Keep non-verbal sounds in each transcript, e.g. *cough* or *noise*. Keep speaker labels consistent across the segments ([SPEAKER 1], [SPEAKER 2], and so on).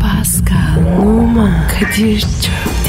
[SPEAKER 1] Pascal, Oman, Kadir çok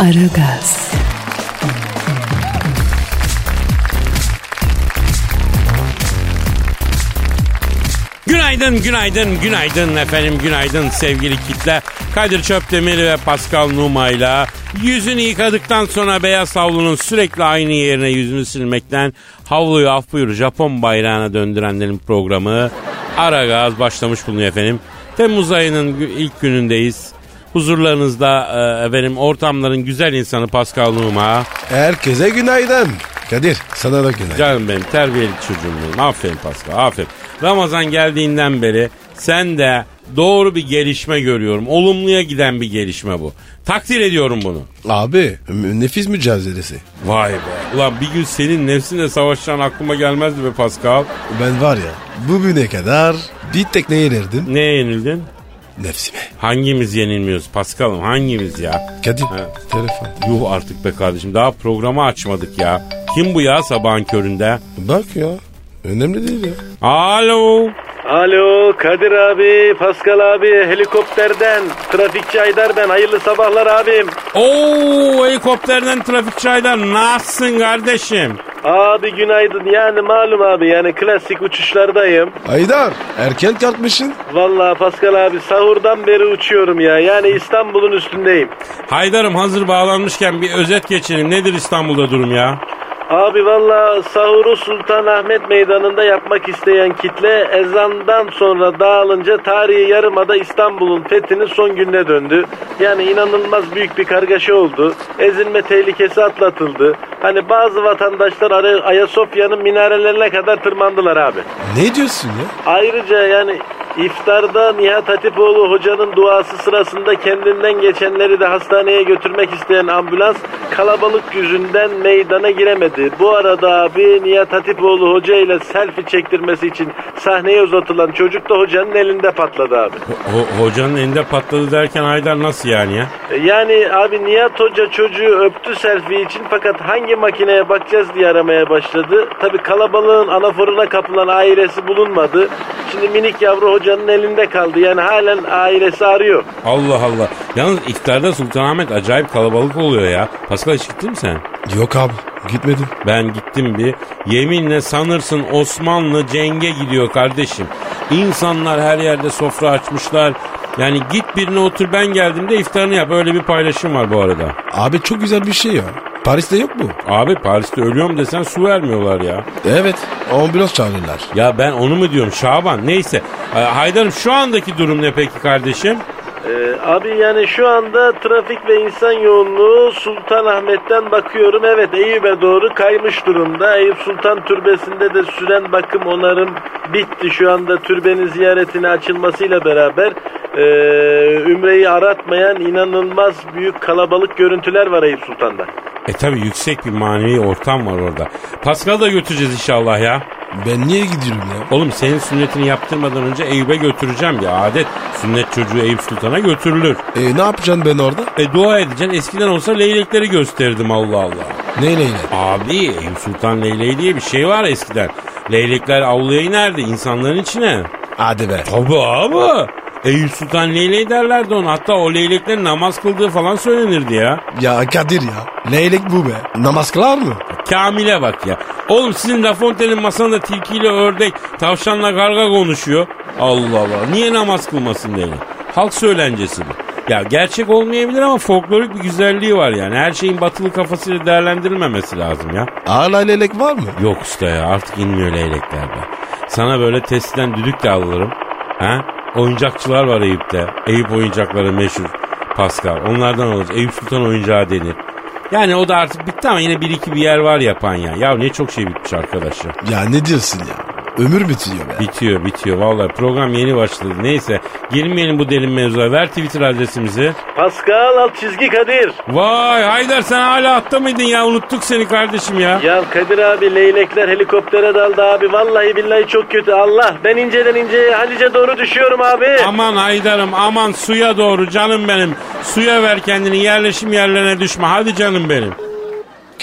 [SPEAKER 1] Aragaz,
[SPEAKER 2] Günaydın, günaydın, günaydın efendim, günaydın sevgili kitle. Kadir Çöptemir ve Pascal Numa'yla yüzünü yıkadıktan sonra beyaz havlunun sürekli aynı yerine yüzünü silmekten havluyu af buyur Japon bayrağına döndürenlerin programı Ara Gaz başlamış bulunuyor efendim. Temmuz ayının gü- ilk günündeyiz. Huzurlarınızda e, efendim ortamların güzel insanı Pascal Numa.
[SPEAKER 3] Herkese günaydın. Kadir sana da günaydın.
[SPEAKER 2] Canım benim terbiyeli çocuğum benim. Aferin Pascal aferin. Ramazan geldiğinden beri sen de doğru bir gelişme görüyorum. Olumluya giden bir gelişme bu. Takdir ediyorum bunu.
[SPEAKER 3] Abi m- nefis mücadelesi.
[SPEAKER 2] Vay be. Ulan bir gün senin nefsinle savaşacağın aklıma gelmezdi be Pascal.
[SPEAKER 3] Ben var ya bugüne kadar bir tek neye inerdim?
[SPEAKER 2] Neye yenildin?
[SPEAKER 3] Nefsime.
[SPEAKER 2] Hangimiz yenilmiyoruz Pascal'ım hangimiz ya?
[SPEAKER 3] Kadir
[SPEAKER 2] Ha.
[SPEAKER 3] telefon.
[SPEAKER 2] Yuh artık be kardeşim daha programı açmadık ya. Kim bu ya sabahın köründe?
[SPEAKER 3] Bak ya önemli değil ya.
[SPEAKER 2] Alo.
[SPEAKER 4] Alo Kadir abi, Pascal abi, helikopterden, trafikçi Aydar ben, hayırlı sabahlar abim.
[SPEAKER 2] Oo helikopterden trafikçi Aydar nasılsın kardeşim?
[SPEAKER 4] Abi günaydın yani malum abi yani klasik uçuşlardayım.
[SPEAKER 3] Aydar erken kalkmışsın.
[SPEAKER 4] Vallahi Pascal abi sahurdan beri uçuyorum ya yani İstanbul'un üstündeyim.
[SPEAKER 2] Haydar'ım hazır bağlanmışken bir özet geçelim. Nedir İstanbul'da durum ya?
[SPEAKER 4] Abi vallahi sahuru Sultanahmet Meydanı'nda yapmak isteyen kitle ezandan sonra dağılınca tarihi yarımada İstanbul'un fethinin son gününe döndü. Yani inanılmaz büyük bir kargaşa oldu. Ezilme tehlikesi atlatıldı. Hani bazı vatandaşlar Ara- Ayasofya'nın minarelerine kadar tırmandılar abi.
[SPEAKER 3] Ne diyorsun ya?
[SPEAKER 4] Ayrıca yani iftarda Nihat Hatipoğlu hocanın duası sırasında kendinden geçenleri de hastaneye götürmek isteyen ambulans kalabalık yüzünden meydana giremedi. Bu arada abi Nihat Hatipoğlu hoca ile selfie çektirmesi için sahneye uzatılan çocuk da hocanın elinde patladı abi.
[SPEAKER 2] Ho- hocanın elinde patladı derken Haydar nasıl yani ya?
[SPEAKER 4] Yani abi Nihat Hoca çocuğu öptü selfie için fakat hangi makineye bakacağız diye aramaya başladı. Tabi kalabalığın anaforuna kapılan ailesi bulunmadı. Şimdi minik yavru hocanın elinde kaldı. Yani halen ailesi arıyor.
[SPEAKER 2] Allah Allah. Yalnız iftarda Sultanahmet acayip kalabalık oluyor ya. Pascal hiç gittin mi sen?
[SPEAKER 3] Yok abi gitmedim.
[SPEAKER 2] Ben gittim bir. Yeminle sanırsın Osmanlı cenge gidiyor kardeşim. İnsanlar her yerde sofra açmışlar. Yani git birine otur ben geldiğimde iftarını yap. Öyle bir paylaşım var bu arada.
[SPEAKER 3] Abi çok güzel bir şey ya. Paris'te yok mu?
[SPEAKER 2] Abi Paris'te ölüyorum desen su vermiyorlar ya.
[SPEAKER 3] Evet ambulans çağırırlar.
[SPEAKER 2] Ya ben onu mu diyorum Şaban neyse. Ee, Haydar'ım şu andaki durum ne peki kardeşim?
[SPEAKER 4] Ee, abi yani şu anda trafik ve insan yoğunluğu Sultanahmet'ten bakıyorum. Evet Eyüp'e doğru kaymış durumda. Eyüp Sultan Türbesi'nde de süren bakım onarım bitti. Şu anda türbenin ziyaretine açılmasıyla beraber ee, Ümre'yi aratmayan inanılmaz büyük kalabalık görüntüler var Eyüp Sultan'da.
[SPEAKER 2] E tabi yüksek bir manevi ortam var orada. Paskal'ı da götüreceğiz inşallah ya.
[SPEAKER 3] Ben niye gidiyorum ya?
[SPEAKER 2] Oğlum senin sünnetini yaptırmadan önce Eyüp'e götüreceğim ya. Adet sünnet çocuğu Eyüp Sultan'a götürülür.
[SPEAKER 3] E ne yapacaksın ben orada?
[SPEAKER 2] E dua edeceksin eskiden olsa leylekleri gösterirdim Allah Allah.
[SPEAKER 3] Neyle neyle?
[SPEAKER 2] Abi Eyüp Sultan leyleği diye bir şey var eskiden. Leylekler avluya inerdi insanların içine.
[SPEAKER 3] Hadi be.
[SPEAKER 2] Tabi abi. Eyüp Sultan leyleği derlerdi ona. Hatta o leyleklerin namaz kıldığı falan söylenirdi ya.
[SPEAKER 3] Ya Kadir ya. Leylek bu be. Namaz kılar mı?
[SPEAKER 2] Kamil'e bak ya. Oğlum sizin La Fontaine'in masasında tilkiyle ördek, tavşanla karga konuşuyor. Allah Allah. Niye namaz kılmasın dedi. Halk söylencesi bu. Ya gerçek olmayabilir ama folklorik bir güzelliği var yani. Her şeyin batılı kafasıyla değerlendirilmemesi lazım ya.
[SPEAKER 3] Hala leylek var mı?
[SPEAKER 2] Yok usta ya artık inmiyor leylekler be. Sana böyle testiden düdük de alırım. Ha? Oyuncakçılar var Eyüp'te. Eyüp oyuncakları meşhur. Pascal. Onlardan alırız. Eyüp Sultan oyuncağı denir. Yani o da artık bitti ama yine bir iki bir yer var yapan ya. Ya ne çok şey bitmiş arkadaşlar.
[SPEAKER 3] Ya ne diyorsun ya? Ömür bitiyor be.
[SPEAKER 2] Bitiyor bitiyor vallahi program yeni başladı. Neyse girmeyelim bu derin mevzuya. Ver Twitter adresimizi.
[SPEAKER 4] Pascal alt çizgi Kadir.
[SPEAKER 2] Vay Haydar sen hala atta mıydın ya unuttuk seni kardeşim ya.
[SPEAKER 4] Ya Kadir abi leylekler helikoptere daldı abi. Vallahi billahi çok kötü. Allah ben inceden inceye Halice doğru düşüyorum abi.
[SPEAKER 2] Aman Haydar'ım aman suya doğru canım benim. Suya ver kendini yerleşim yerlerine düşme hadi canım benim.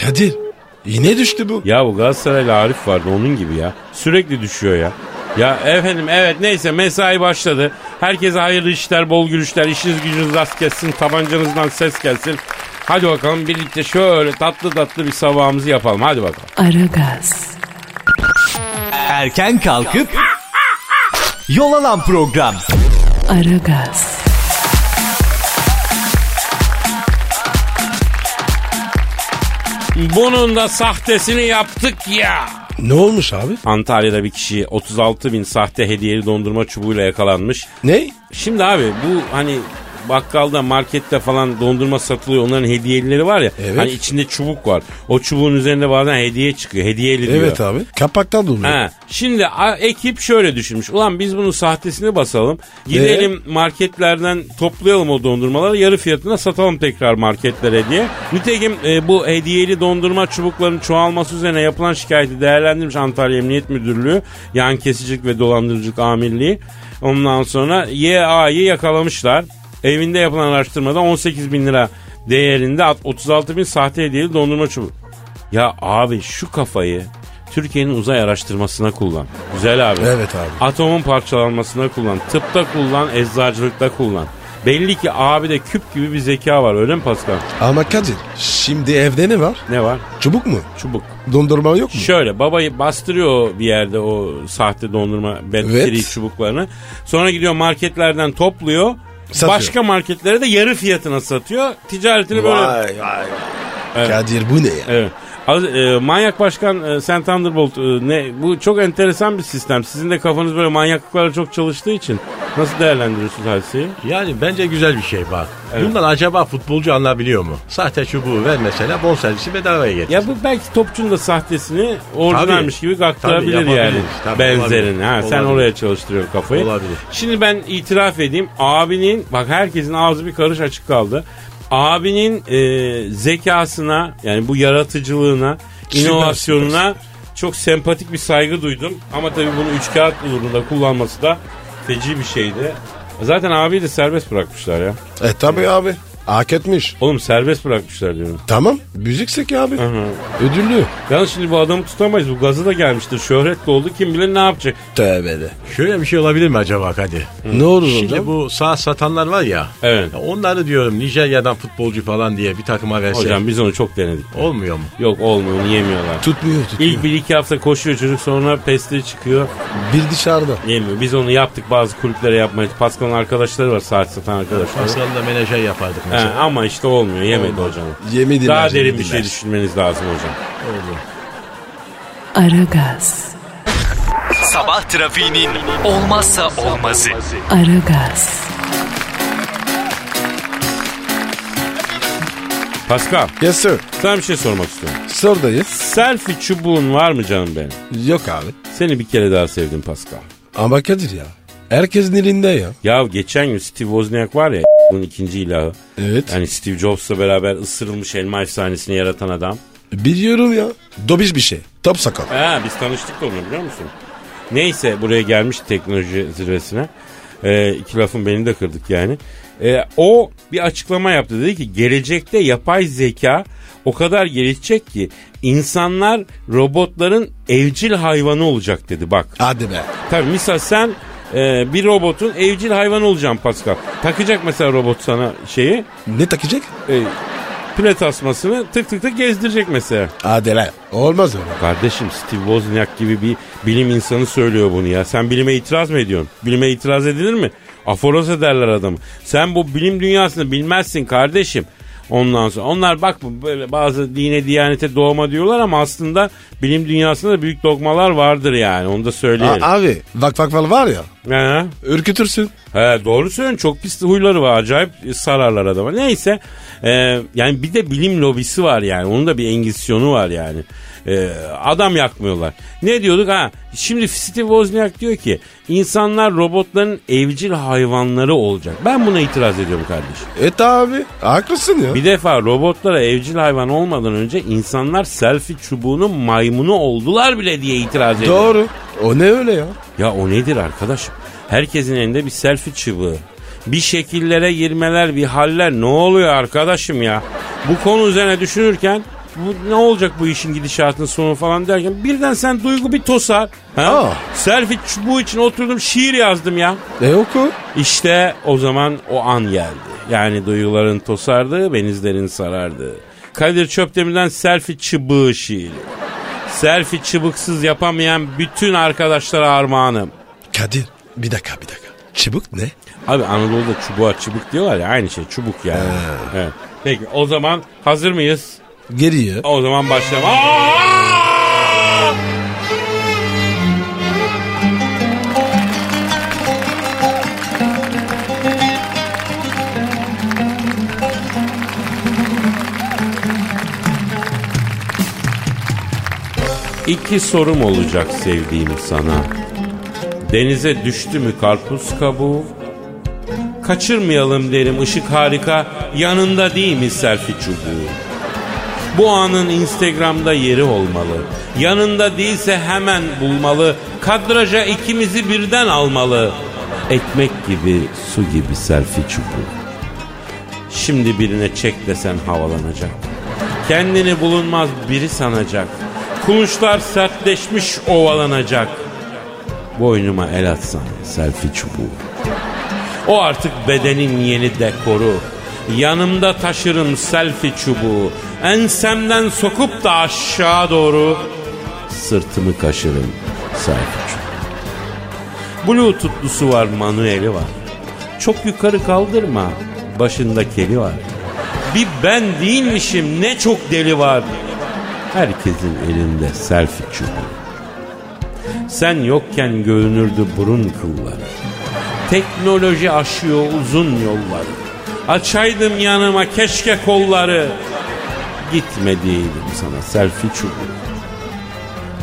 [SPEAKER 3] Kadir yine düştü bu.
[SPEAKER 2] Ya bu Galatasaraylı Arif vardı onun gibi ya. Sürekli düşüyor ya. Ya efendim evet neyse mesai başladı. Herkese hayırlı işler, bol gülüşler, işiniz gücünüz rast gelsin, tabancanızdan ses gelsin. Hadi bakalım birlikte şöyle tatlı tatlı bir sabahımızı yapalım. Hadi bakalım.
[SPEAKER 1] Aragaz,
[SPEAKER 5] Erken kalkıp yol alan program.
[SPEAKER 1] Aragaz,
[SPEAKER 2] Bunun da sahtesini yaptık ya.
[SPEAKER 3] Ne olmuş abi?
[SPEAKER 2] Antalya'da bir kişi 36 bin sahte hediyeli dondurma çubuğuyla yakalanmış.
[SPEAKER 3] Ne?
[SPEAKER 2] Şimdi abi bu hani bakkalda markette falan dondurma satılıyor onların hediyelileri var ya.
[SPEAKER 3] Evet.
[SPEAKER 2] Hani içinde çubuk var. O çubuğun üzerinde bazen hediye çıkıyor. Hediyeli diyor.
[SPEAKER 3] Evet abi. Kapaktan doluyor.
[SPEAKER 2] Ha, şimdi a- ekip şöyle düşünmüş. Ulan biz bunun sahtesini basalım. Gidelim marketlerden toplayalım o dondurmaları. Yarı fiyatına satalım tekrar marketlere diye. Nitekim e, bu hediyeli dondurma çubukların çoğalması üzerine yapılan şikayeti değerlendirmiş Antalya Emniyet Müdürlüğü. Yan kesicilik ve dolandırıcılık amirliği. Ondan sonra YA'yı yakalamışlar. Evinde yapılan araştırmada 18 bin lira değerinde at- 36 bin sahte hediyeli dondurma çubuğu. Ya abi şu kafayı Türkiye'nin uzay araştırmasına kullan. Güzel abi.
[SPEAKER 3] Evet abi.
[SPEAKER 2] Atomun parçalanmasına kullan. Tıpta kullan, eczacılıkta kullan. Belli ki abi de küp gibi bir zeka var öyle mi Pascal?
[SPEAKER 3] Ama Kadir şimdi evde ne var?
[SPEAKER 2] Ne var?
[SPEAKER 3] Çubuk mu?
[SPEAKER 2] Çubuk.
[SPEAKER 3] Dondurma yok mu?
[SPEAKER 2] Şöyle babayı bastırıyor bir yerde o sahte dondurma betiri
[SPEAKER 3] Evet.
[SPEAKER 2] çubuklarını. Sonra gidiyor marketlerden topluyor.
[SPEAKER 3] Satıyor.
[SPEAKER 2] Başka marketlere de yarı fiyatına satıyor. Ticaretini böyle
[SPEAKER 3] Vay vay. Kadir bu ne ya?
[SPEAKER 2] Evet. Az, e, manyak başkan e, Sen Thunderbolt e, ne bu çok enteresan bir sistem. Sizin de kafanız böyle manyaklıklara çok çalıştığı için nasıl değerlendiriyorsunuz hadiseyi?
[SPEAKER 6] Yani bence güzel bir şey bak. Bundan acaba futbolcu anlayabiliyor mu? Sahte çubuğu ver mesela bonservisi bedavaya getir.
[SPEAKER 2] Ya bu belki topçunun da sahtesini orijinalmiş
[SPEAKER 6] Tabii.
[SPEAKER 2] gibi gaktırabilir
[SPEAKER 6] Tabii,
[SPEAKER 2] yani.
[SPEAKER 6] yapabilir. Tabii,
[SPEAKER 2] Benzerini.
[SPEAKER 6] olabilir.
[SPEAKER 2] Ha, sen
[SPEAKER 6] Olabilir.
[SPEAKER 2] oraya çalıştırıyorsun kafayı.
[SPEAKER 6] Olabilir.
[SPEAKER 2] Şimdi ben itiraf edeyim. Abinin bak herkesin ağzı bir karış açık kaldı. Abinin e, zekasına yani bu yaratıcılığına,
[SPEAKER 3] Süper,
[SPEAKER 2] inovasyonuna çok sempatik bir saygı duydum. Ama tabii bunu üç kağıt uğrunda kullanması da feci bir şeydi. Zaten abiyi de serbest bırakmışlar ya.
[SPEAKER 3] E tabi abi. Hak etmiş.
[SPEAKER 2] Oğlum serbest bırakmışlar diyorum.
[SPEAKER 3] Tamam. Müzik zeki abi. Ödüllü.
[SPEAKER 2] Yalnız şimdi bu adamı tutamayız. Bu gazı da gelmiştir. Şöhret de oldu. Kim bilir ne yapacak.
[SPEAKER 3] Tövbe de.
[SPEAKER 6] Şöyle bir şey olabilir mi acaba Kadir?
[SPEAKER 3] Ne olur
[SPEAKER 6] Şimdi
[SPEAKER 3] hocam?
[SPEAKER 6] bu sağ satanlar var ya.
[SPEAKER 2] Evet.
[SPEAKER 6] ya Onları diyorum Nijerya'dan futbolcu falan diye bir takıma verse.
[SPEAKER 2] Hocam biz onu çok denedik.
[SPEAKER 6] Olmuyor mu?
[SPEAKER 2] Yok olmuyor onu yemiyorlar.
[SPEAKER 3] Tutmuyor tutmuyor.
[SPEAKER 2] İlk bir iki hafta koşuyor çocuk sonra pesti çıkıyor.
[SPEAKER 3] Bir dışarıda.
[SPEAKER 2] Yemiyor. Biz onu yaptık bazı kulüplere yapmaya. Pascal'ın arkadaşları var saat satan arkadaşlar.
[SPEAKER 6] Aslında menajer yapardık
[SPEAKER 2] He,
[SPEAKER 6] mesela.
[SPEAKER 2] ama işte olmuyor yemedi hocam.
[SPEAKER 3] Yemediler.
[SPEAKER 2] Daha derin bir
[SPEAKER 3] yemediler.
[SPEAKER 2] şey düşünmeniz lazım hocam.
[SPEAKER 1] Aragaz,
[SPEAKER 5] Sabah trafiğinin olmazsa olmazı.
[SPEAKER 1] Aragaz,
[SPEAKER 2] Pascal
[SPEAKER 3] Yes sir.
[SPEAKER 2] sana bir şey sormak istiyorum.
[SPEAKER 3] Sordayız.
[SPEAKER 2] Selfie çubuğun var mı canım benim?
[SPEAKER 3] Yok abi.
[SPEAKER 2] Seni bir kere daha sevdim Pascal.
[SPEAKER 3] Ama Kadir ya. Herkesin elinde ya.
[SPEAKER 2] Ya geçen gün Steve Wozniak var ya bunun ikinci ilahı.
[SPEAKER 3] Evet.
[SPEAKER 2] Hani Steve Jobs'la beraber ısırılmış elma efsanesini yaratan adam.
[SPEAKER 3] Biliyorum ya. Dobiş bir şey. Top sakal.
[SPEAKER 2] Ha biz tanıştık da onunla biliyor musun? Neyse buraya gelmiş teknoloji zirvesine. Ee, iki lafın beni de kırdık yani. Ee, o bir açıklama yaptı. Dedi ki gelecekte yapay zeka o kadar gelişecek ki insanlar robotların evcil hayvanı olacak dedi bak.
[SPEAKER 3] Hadi be.
[SPEAKER 2] Tabii misal sen e, bir robotun evcil hayvanı olacaksın Pascal. Takacak mesela robot sana şeyi
[SPEAKER 3] Ne takacak?
[SPEAKER 2] e, pile tasmasını tık tık tık gezdirecek mesela.
[SPEAKER 3] Hadi lan. Olmaz öyle.
[SPEAKER 2] Kardeşim Steve Wozniak gibi bir bilim insanı söylüyor bunu ya. Sen bilime itiraz mı ediyorsun? Bilime itiraz edilir mi? Aforoz ederler adamı. Sen bu bilim dünyasını bilmezsin kardeşim. Ondan sonra onlar bak bu böyle bazı dine diyanete doğma diyorlar ama aslında bilim dünyasında da büyük dogmalar vardır yani onu da söyleyelim.
[SPEAKER 3] Aa, abi. Vak vak vak var ya.
[SPEAKER 2] Ha?
[SPEAKER 3] Ürkütürsün.
[SPEAKER 2] He, doğru söylüyorsun çok pis huyları var acayip sararlar adama. Neyse e, yani bir de bilim lobisi var yani onun da bir engizisyonu var yani. E, adam yakmıyorlar. Ne diyorduk ha şimdi Steve Wozniak diyor ki insanlar robotların evcil hayvanları olacak. Ben buna itiraz ediyorum kardeşim.
[SPEAKER 3] Evet abi E haklısın ya.
[SPEAKER 2] Bir defa robotlara evcil hayvan olmadan önce insanlar selfie çubuğunun maymunu oldular bile diye itiraz ediyorum.
[SPEAKER 3] Doğru. O ne öyle ya?
[SPEAKER 2] Ya o nedir arkadaşım? Herkesin elinde bir selfie çubuğu. Bir şekillere girmeler, bir haller ne oluyor arkadaşım ya? Bu konu üzerine düşünürken bu, ne olacak bu işin gidişatının sonu falan derken birden sen duygu bir tosar. Ha?
[SPEAKER 3] Aa.
[SPEAKER 2] Selfie çubuğu için oturdum şiir yazdım ya.
[SPEAKER 3] E oku.
[SPEAKER 2] İşte o zaman o an geldi. Yani duyguların tosardığı, benizlerin sarardığı. Kadir Çöpdemir'den selfie çıbığı şiiri. Selfie çıbıksız yapamayan bütün arkadaşlara armağanım.
[SPEAKER 3] Kadir bir dakika bir dakika. Çubuk ne?
[SPEAKER 2] Abi Anadolu'da çubuğa çubuk diyorlar ya aynı şey çubuk yani. Evet. Peki o zaman hazır mıyız?
[SPEAKER 3] Geriye.
[SPEAKER 2] O zaman başlayalım. Aa! İki sorum olacak sevdiğim sana. Denize düştü mü karpuz kabuğu? Kaçırmayalım derim ışık harika, yanında değil mi selfie çubuğu? Bu anın Instagram'da yeri olmalı. Yanında değilse hemen bulmalı. Kadraja ikimizi birden almalı. Ekmek gibi, su gibi selfie çubuğu. Şimdi birine çek desen havalanacak. Kendini bulunmaz biri sanacak. Kuluçlar sertleşmiş ovalanacak. Boynuma el atsan selfie çubuğu. O artık bedenin yeni dekoru. Yanımda taşırım selfie çubuğu. Ensemden sokup da aşağı doğru sırtımı kaşırım selfie çubuğu. Bluetooth'lusu var, manueli var. Çok yukarı kaldırma, başında keli var. Bir ben değilmişim ne çok deli var. Herkesin elinde selfie çubuğu. Sen yokken görünürdü burun kılları. Teknoloji aşıyor uzun yolları. Açaydım yanıma keşke kolları. Gitme diyeydim sana selfie çubuğu.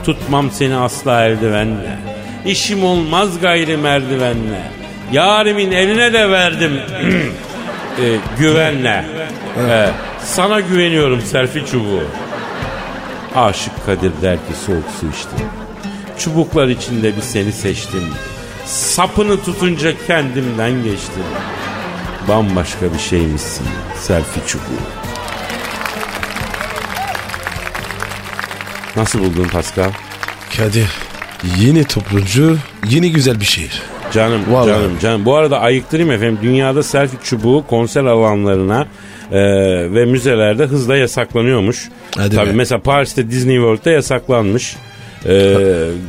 [SPEAKER 2] Tutmam seni asla eldivenle. İşim olmaz gayri merdivenle. Yarimin eline de verdim *clears throat* e, güvenle. E, sana güveniyorum selfie çubuğu. Aşık Kadir der ki soğuk su içtim. Çubuklar içinde bir seni seçtim. Sapını tutunca kendimden geçtim. Bambaşka bir şeymişsin selfie çubuğu. Nasıl buldun Pascal?
[SPEAKER 3] Kadir yeni toplumcu yeni güzel bir şehir.
[SPEAKER 2] Canım
[SPEAKER 3] Vallahi.
[SPEAKER 2] canım canım. Bu arada ayıktırayım efendim. Dünyada selfie çubuğu konser alanlarına e, ve müzelerde hızla yasaklanıyormuş.
[SPEAKER 3] Hadi
[SPEAKER 2] Tabii
[SPEAKER 3] be.
[SPEAKER 2] mesela Paris'te Disney World'da yasaklanmış. E,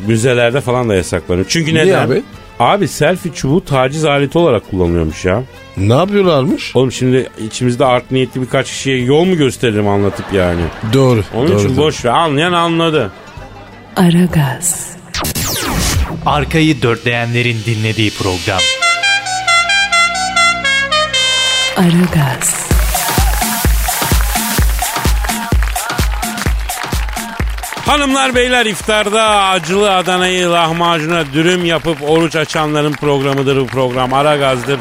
[SPEAKER 2] müzelerde falan da yasaklanıyor. Çünkü
[SPEAKER 3] Niye
[SPEAKER 2] neden?
[SPEAKER 3] abi?
[SPEAKER 2] Abi selfie çubuğu taciz aleti olarak kullanılıyormuş ya.
[SPEAKER 3] Ne yapıyorlarmış?
[SPEAKER 2] Oğlum şimdi içimizde art niyetli birkaç kişiye yol mu gösteririm anlatıp yani.
[SPEAKER 3] Doğru.
[SPEAKER 2] Onun
[SPEAKER 3] doğru,
[SPEAKER 2] için
[SPEAKER 3] doğru.
[SPEAKER 2] boş ver. Anlayan anladı.
[SPEAKER 1] Aragaz,
[SPEAKER 5] Arkayı dörtleyenlerin dinlediği program.
[SPEAKER 1] Aragaz,
[SPEAKER 2] Hanımlar beyler iftarda acılı Adana'yı lahmacuna dürüm yapıp oruç açanların programıdır bu program. Ara gazdır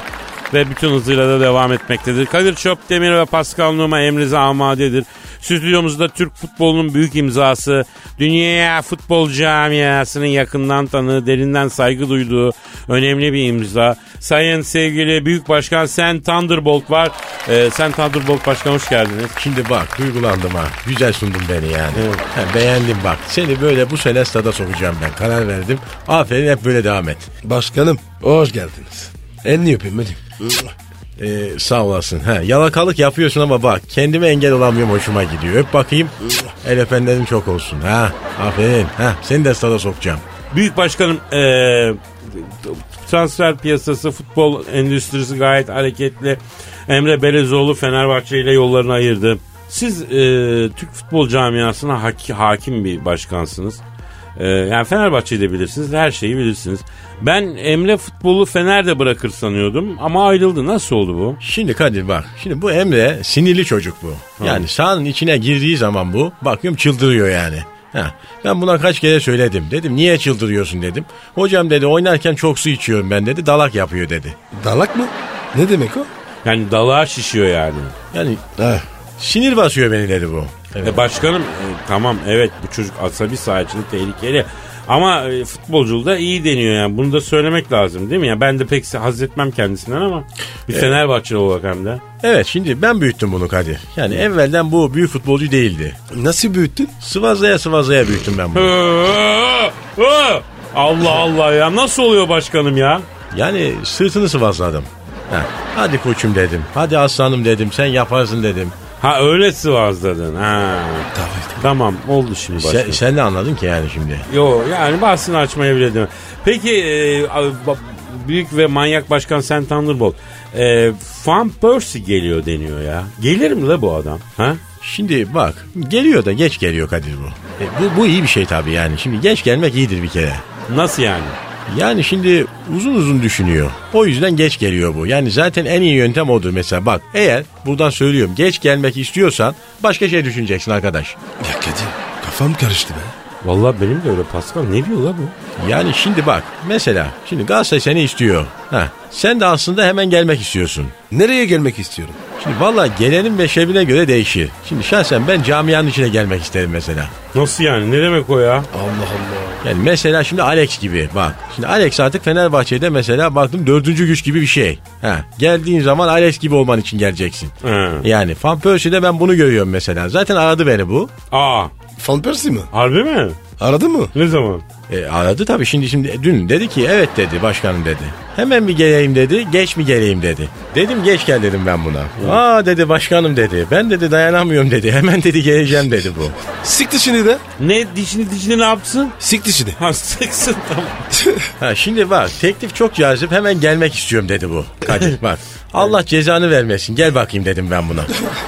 [SPEAKER 2] ve bütün hızıyla da devam etmektedir. Kadir Çöptemir ve Pascal Numa emrize amadedir. Stüdyomuzda Türk futbolunun büyük imzası, dünya futbol camiasının yakından tanığı, derinden saygı duyduğu önemli bir imza. Sayın sevgili Büyük Başkan Sen Thunderbolt var. Ee, Sen Thunderbolt Başkan hoş geldiniz.
[SPEAKER 6] Şimdi bak duygulandım ha. Güzel sundun beni yani. Ha, beğendim bak. Seni böyle bu sene stada sokacağım ben. Karar verdim. Aferin hep böyle devam et.
[SPEAKER 3] Başkanım hoş geldiniz. Elini öpeyim hadi.
[SPEAKER 6] Ee, sağ olasın. Ha, yalakalık yapıyorsun ama bak kendime engel olamıyorum hoşuma gidiyor. Öp bakayım. El öpenlerin çok olsun. Ha, aferin. Ha, seni de stada sokacağım.
[SPEAKER 2] Büyük başkanım eee, transfer piyasası, futbol endüstrisi gayet hareketli. Emre Belezoğlu Fenerbahçe ile yollarını e, ayırdı. Siz eee, Türk futbol camiasına hak- hakim bir başkansınız. Ee, yani Fenerbahçe'yi de bilirsiniz, her şeyi bilirsiniz. Ben Emre futbolu Fener'de bırakır sanıyordum ama ayrıldı. Nasıl oldu bu?
[SPEAKER 6] Şimdi Kadir bak. Şimdi bu Emre sinirli çocuk bu. Yani sahanın içine girdiği zaman bu bakıyorum çıldırıyor yani. Heh, ben buna kaç kere söyledim. Dedim niye çıldırıyorsun dedim. Hocam dedi oynarken çok su içiyorum ben dedi. Dalak yapıyor dedi.
[SPEAKER 3] Dalak mı? Ne demek o?
[SPEAKER 2] Yani dalağa şişiyor yani.
[SPEAKER 6] Yani
[SPEAKER 3] Ha,
[SPEAKER 6] sinir basıyor beni dedi bu. Evet.
[SPEAKER 2] E başkanım e, tamam evet bu çocuk asabi saha için tehlikeli. Ama e, futbolculuğu da iyi deniyor yani. Bunu da söylemek lazım değil mi? Ya ben de pek se- haz etmem kendisinden ama bir Fenerbahçeli olarak hem de.
[SPEAKER 6] Evet şimdi ben büyüttüm bunu Kadir. Yani evvelden bu büyük futbolcu değildi.
[SPEAKER 3] nasıl büyüttün?
[SPEAKER 6] Sıvazlaya sıvazlaya büyüttüm ben bunu.
[SPEAKER 2] Allah Allah ya nasıl oluyor başkanım ya?
[SPEAKER 6] Yani sırtını sıvazladım. Heh, Hadi koçum dedim. Hadi aslanım dedim. Sen yaparsın dedim.
[SPEAKER 2] Ha öyle sıvazladın ha. Tamam Şey, oldu şimdi başkanım.
[SPEAKER 6] Sen, sen de anladın ki yani şimdi.
[SPEAKER 2] Yo yani bahsini açmaya bile demem. Peki e, a- ba- büyük ve manyak başkan Sen Thunderbolt. E, Van Persie geliyor deniyor ya. Gelir mi la bu adam? Ha?
[SPEAKER 6] Şimdi bak geliyor da geç geliyor Kadir bu. E, bu, bu iyi bir şey tabii yani. Şimdi geç gelmek iyidir bir kere.
[SPEAKER 2] Nasıl yani?
[SPEAKER 6] Yani şimdi uzun uzun düşünüyor. O yüzden geç geliyor bu. Yani zaten en iyi yöntem odur mesela. Bak eğer buradan söylüyorum geç gelmek istiyorsan başka şey düşüneceksin arkadaş.
[SPEAKER 3] Ya Kadir kafam karıştı be.
[SPEAKER 2] Vallahi benim de öyle Pascal. Ne diyor la bu?
[SPEAKER 6] Yani şimdi bak mesela şimdi Galatasaray seni istiyor. Ha, sen de aslında hemen gelmek istiyorsun.
[SPEAKER 3] Nereye gelmek istiyorum?
[SPEAKER 6] Şimdi valla gelenin ve şebine göre değişir. Şimdi şahsen ben camianın içine gelmek isterim mesela.
[SPEAKER 2] Nasıl yani? Ne demek o ya?
[SPEAKER 3] Allah Allah.
[SPEAKER 6] Yani mesela şimdi Alex gibi bak. Şimdi Alex artık Fenerbahçe'de mesela baktım dördüncü güç gibi bir şey. Ha, geldiğin zaman Alex gibi olman için geleceksin.
[SPEAKER 2] He.
[SPEAKER 6] Yani Van Persie'de ben bunu görüyorum mesela. Zaten aradı beni bu.
[SPEAKER 2] Aa,
[SPEAKER 3] Fan Persie mi?
[SPEAKER 2] harbi mi?
[SPEAKER 3] Aradı mı?
[SPEAKER 2] Ne zaman?
[SPEAKER 6] E, aradı tabii şimdi şimdi dün dedi ki evet dedi başkanım dedi. Hemen mi geleyim dedi geç mi geleyim dedi. Dedim geç gel dedim ben buna. Aa dedi başkanım dedi ben dedi dayanamıyorum dedi hemen dedi geleceğim dedi bu.
[SPEAKER 3] Sik dişini de.
[SPEAKER 2] Ne dişini dişini ne yapsın? *laughs*
[SPEAKER 3] Sik dişini.
[SPEAKER 2] Ha sıksın tamam.
[SPEAKER 6] Ha şimdi bak teklif çok cazip hemen gelmek istiyorum dedi bu.
[SPEAKER 2] *laughs*
[SPEAKER 6] Kadir bak Allah cezanı vermesin gel bakayım dedim ben buna.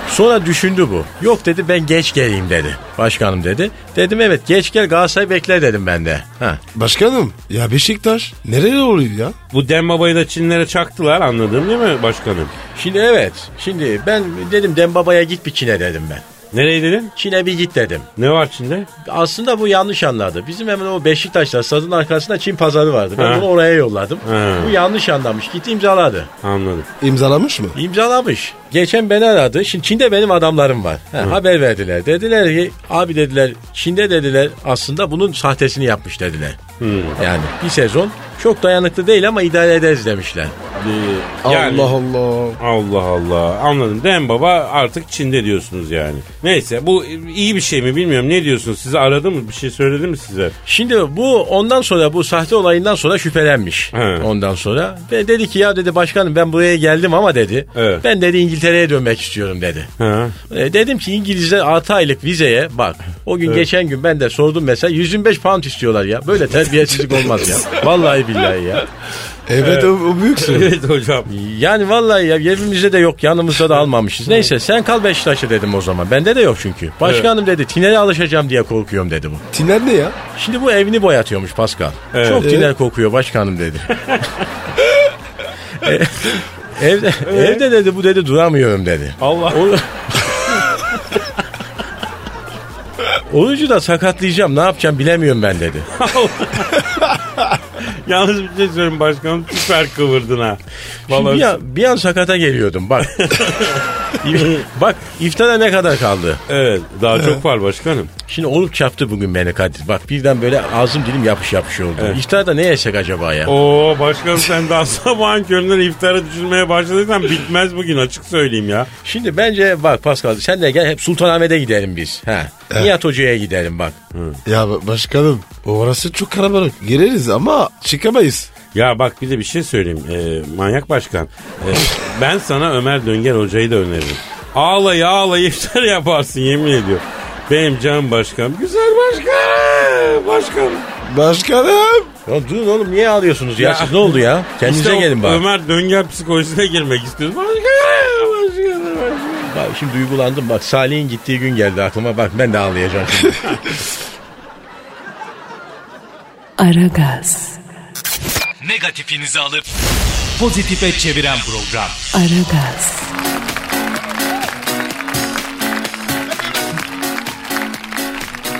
[SPEAKER 6] Sonra düşündü bu. Yok dedi ben geç geleyim dedi. Başkanım dedi. Dedim evet geç gel Galatasaray bekler dedim ben de. Ha.
[SPEAKER 3] *laughs* Başkanım ya Beşiktaş nereye oluyor ya?
[SPEAKER 2] Bu Dem Baba'yı da Çinlere çaktılar anladım değil mi başkanım?
[SPEAKER 6] Şimdi evet şimdi ben dedim Dembaba'ya git bir Çin'e dedim ben.
[SPEAKER 2] Nereye dedin?
[SPEAKER 6] Çin'e bir git dedim.
[SPEAKER 2] Ne var Çin'de?
[SPEAKER 6] Aslında bu yanlış anladı. Bizim hemen o Beşiktaş'ta stadın arkasında Çin pazarı vardı. Ben
[SPEAKER 2] Ha.
[SPEAKER 6] bunu oraya yolladım.
[SPEAKER 2] Ha.
[SPEAKER 6] Bu yanlış anlamış. Gitti imzaladı.
[SPEAKER 2] Anladım.
[SPEAKER 3] İmzalamış mı?
[SPEAKER 6] İmzalamış. Geçen beni aradı. Şimdi Çin'de benim adamlarım var. Ha, haber verdiler. Dediler ki abi dediler Çin'de dediler aslında bunun sahtesini yapmış dediler.
[SPEAKER 2] Hmm.
[SPEAKER 6] Yani bir sezon çok dayanıklı değil ama idare ederiz demişler.
[SPEAKER 2] Ee, yani-
[SPEAKER 3] Allah Allah.
[SPEAKER 2] Allah Allah anladım. Dem Baba artık Çin'de diyorsunuz yani. Neyse bu iyi bir şey mi bilmiyorum. Ne diyorsunuz? Sizi aradı mı? Bir şey söyledi mi size?
[SPEAKER 6] Şimdi bu ondan sonra bu sahte olayından sonra şüphelenmiş.
[SPEAKER 2] He.
[SPEAKER 6] Ondan sonra ve dedi ki ya dedi başkanım ben buraya geldim ama dedi.
[SPEAKER 2] Evet.
[SPEAKER 6] Ben dedi İngiltere'ye dönmek istiyorum dedi.
[SPEAKER 2] Ha.
[SPEAKER 6] E, dedim ki İngilizler 6 aylık vizeye bak. O gün geçen gün ben de sordum mesela 125 pound istiyorlar ya. Böyle terbiyesizlik olmaz ya. Vallahi billahi ya.
[SPEAKER 3] Evet, O, o büyük *laughs* sorun.
[SPEAKER 2] evet hocam. *laughs*
[SPEAKER 6] Yani vallahi ya yerimizde de yok yanımızda da almamışız. Neyse sen kal Beşiktaş'ta dedim o zaman. Bende de yok çünkü. Başkanım dedi tinere alışacağım diye korkuyorum dedi bu.
[SPEAKER 3] Tiner ne ya?
[SPEAKER 6] Şimdi bu evini boyatıyormuş Pascal.
[SPEAKER 2] Evet.
[SPEAKER 6] Çok tiner kokuyor başkanım
[SPEAKER 2] *laughs*
[SPEAKER 6] dedi. E, evde, evde dedi bu dedi duramıyorum dedi.
[SPEAKER 2] Allah.
[SPEAKER 6] Orucu da sakatlayacağım ne yapacağım bilemiyorum ben dedi.
[SPEAKER 2] Yalnız bir şey söyleyeyim başkanım. Süper kıvırdın ha.
[SPEAKER 6] Şimdi
[SPEAKER 2] Vallahi
[SPEAKER 6] bir, an, bir an sakata geliyordum bak. bak iftara ne kadar kaldı.
[SPEAKER 2] Evet daha çok var başkanım.
[SPEAKER 6] Şimdi olup çarptı bugün beni Kadir. Bak birden böyle ağzım dilim yapış yapış oldu. İftarda ne yesek acaba ya?
[SPEAKER 2] Oo başkanım sen daha *laughs* sabahın köründen iftara düşünmeye başladıysan bitmez bugün açık söyleyeyim ya.
[SPEAKER 6] Şimdi bence bak Pascal sen de gel hep Sultanahmet'e gidelim biz. Ha. Nihat Hoca'ya gidelim bak.
[SPEAKER 3] Ya ba- başkanım orası çok kalabalık. Gireriz ama çıkamayız.
[SPEAKER 2] Ya bak bir de bir şey söyleyeyim. Ee, manyak başkan. Ee, ben sana Ömer Dönger hocayı da öneririm. Ağlayı ağlayı iftar yaparsın yemin ediyorum. Benim canım başkanım. Güzel başkanım. Başkanım.
[SPEAKER 3] Başkanım.
[SPEAKER 6] Ya durun oğlum niye ağlıyorsunuz ya?
[SPEAKER 2] Ya.
[SPEAKER 6] Siz ne oldu ya? Kendinize
[SPEAKER 2] İşte o
[SPEAKER 6] gelin bak.
[SPEAKER 2] Ömer Dönger psikolojisine girmek istiyoruz. Başkanım. Başkanım. başkanım.
[SPEAKER 6] Bak şimdi duygulandım bak
[SPEAKER 2] *laughs*
[SPEAKER 6] Salih'in gittiği gün geldi aklıma bak ben de ağlayacağım şimdi.
[SPEAKER 1] Aragaz,
[SPEAKER 5] Negatifinizi alıp pozitife çeviren program.
[SPEAKER 1] Aragaz,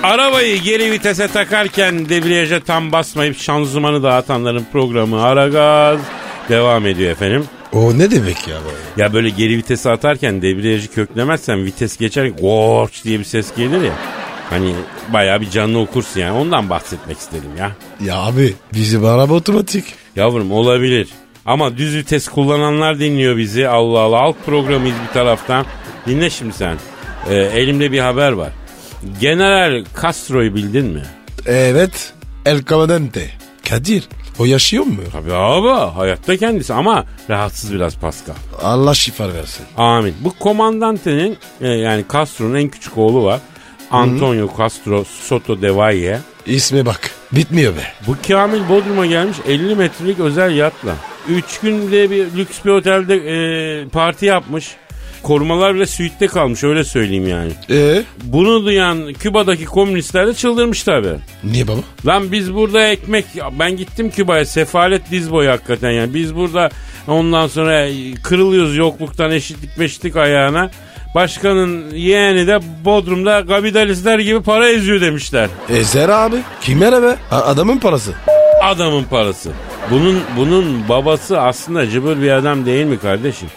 [SPEAKER 2] Arabayı geri vitese takarken debriyaja tam basmayıp şanzımanı dağıtanların programı Aragaz devam ediyor efendim.
[SPEAKER 3] O ne demek ya böyle?
[SPEAKER 2] Ya böyle geri vitesi atarken debriyajı köklemezsen vites geçer gorç diye bir ses gelir ya. Hani bayağı bir canlı okursun yani ondan bahsetmek istedim ya.
[SPEAKER 3] Ya abi bizim araba otomatik.
[SPEAKER 2] Yavrum olabilir. Ama düz vites kullananlar dinliyor bizi. Allah Allah halk programıyız bir taraftan. Dinle şimdi sen. Ee, elimde bir haber var. General Castro'yu bildin mi?
[SPEAKER 3] Evet. El Comandante. Kadir o yaşıyor mu?
[SPEAKER 2] Tabii abi hayatta kendisi ama rahatsız biraz Pascal.
[SPEAKER 3] Allah şifa versin.
[SPEAKER 2] Amin. Bu komandantenin e, yani Castro'nun en küçük oğlu var. Antonio Castro Soto de Valle.
[SPEAKER 3] İsme bak. Bitmiyor be.
[SPEAKER 2] Bu Kamil Bodrum'a gelmiş 50 metrelik özel yatla. 3 günde bir lüks bir otelde e, parti yapmış. Korumalar bile suite'de kalmış öyle söyleyeyim yani.
[SPEAKER 3] Ee,
[SPEAKER 2] Bunu duyan Küba'daki komünistler de çıldırmış tabi.
[SPEAKER 3] niye baba?
[SPEAKER 2] Lan biz burada ekmek ya ben gittim Küba'ya sefalet diz boyu hakikaten yani. Biz burada ondan sonra kırılıyoruz yokluktan eşitlik meşitlik ayağına. Başkanın yeğeni de Bodrum'da kapitalistler gibi para eziyor demişler.
[SPEAKER 3] Ezer abi. Kime ne be? A- adamın parası.
[SPEAKER 2] Adamın parası. Bunun bunun babası aslında cıbır bir adam değil mi kardeşim?